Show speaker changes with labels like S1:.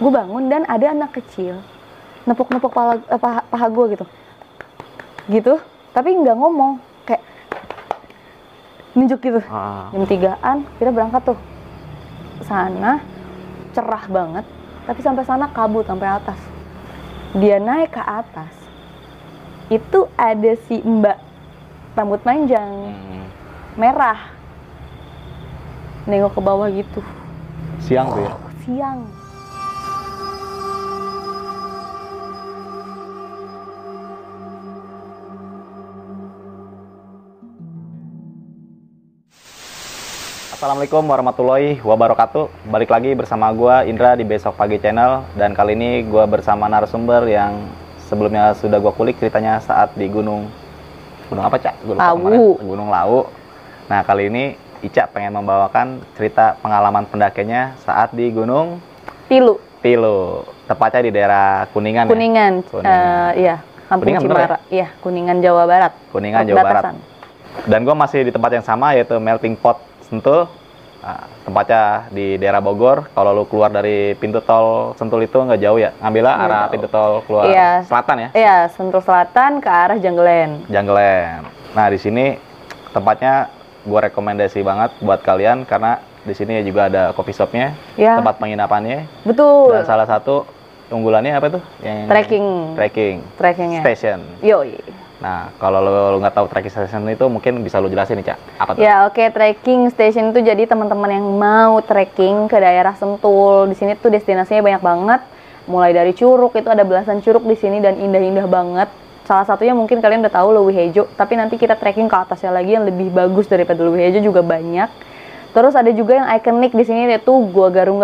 S1: gue bangun dan ada anak kecil nepuk-nepuk pala- eh, paha, paha gue gitu gitu tapi nggak ngomong kayak nunjuk gitu
S2: Ah.
S1: jam tigaan kita berangkat tuh sana cerah banget tapi sampai sana kabut sampai atas dia naik ke atas itu ada si mbak rambut panjang
S2: Hmm.
S1: merah nengok ke bawah gitu
S2: Siang tuh ya.
S1: siang
S2: Assalamualaikum warahmatullahi wabarakatuh. Balik lagi bersama gua Indra di Besok Pagi Channel dan kali ini gua bersama narasumber yang sebelumnya sudah gua kulik ceritanya saat di Gunung Gunung apa, Cak? Gua lupa
S1: Lawu.
S2: kemarin. Gunung Lawu. Nah, kali ini Ica pengen membawakan cerita pengalaman pendakiannya saat di Gunung
S1: pilu
S2: Tilo, tepatnya di daerah Kuningan. ya?
S1: kuningan
S2: Kuningan.
S1: eh, iya kampung
S2: Kuningan bener ya?
S1: Cimara iya kuningan Jawa Barat
S2: Kuningan Jawa Barat.
S1: Perbatasan.
S2: Dan gue masih di tempat yang sama yaitu Melting Pot Sentul. Nah, tempatnya di daerah Bogor. Kalau lu keluar dari pintu tol Sentul itu nggak jauh ya. Ngambilnya
S1: Nggak
S2: arah
S1: jauh.
S2: pintu tol keluar
S1: Iya.
S2: selatan ya.
S1: iya Sentul Selatan ke arah Janggelen
S2: Janggelen. Nah, di sini tempatnya gue rekomendasi banget buat kalian karena di sini juga ada coffee shopnya,
S1: ya
S2: tempat penginapannya.
S1: betul
S2: Dan salah satu unggulannya apa tuh? Yang
S1: trekking Iya.
S2: Trekking.
S1: trekkingnya
S2: Station.
S1: Yoi.
S2: Nah, kalau lo nggak tahu trekking station itu mungkin bisa lo jelasin nih, Cak. Apa tuh?
S1: Ya oke trekking station itu jadi teman-teman yang mau trekking ke daerah Sentul di sini tuh destinasinya banyak banget mulai dari curug itu ada belasan curug di sini dan indah-indah banget salah satunya mungkin kalian udah tahu Lewi Hejo tapi nanti kita trekking ke atasnya lagi yang lebih bagus daripada Lewi Hejo juga banyak terus ada juga yang ikonik di sini yaitu Gua Garungga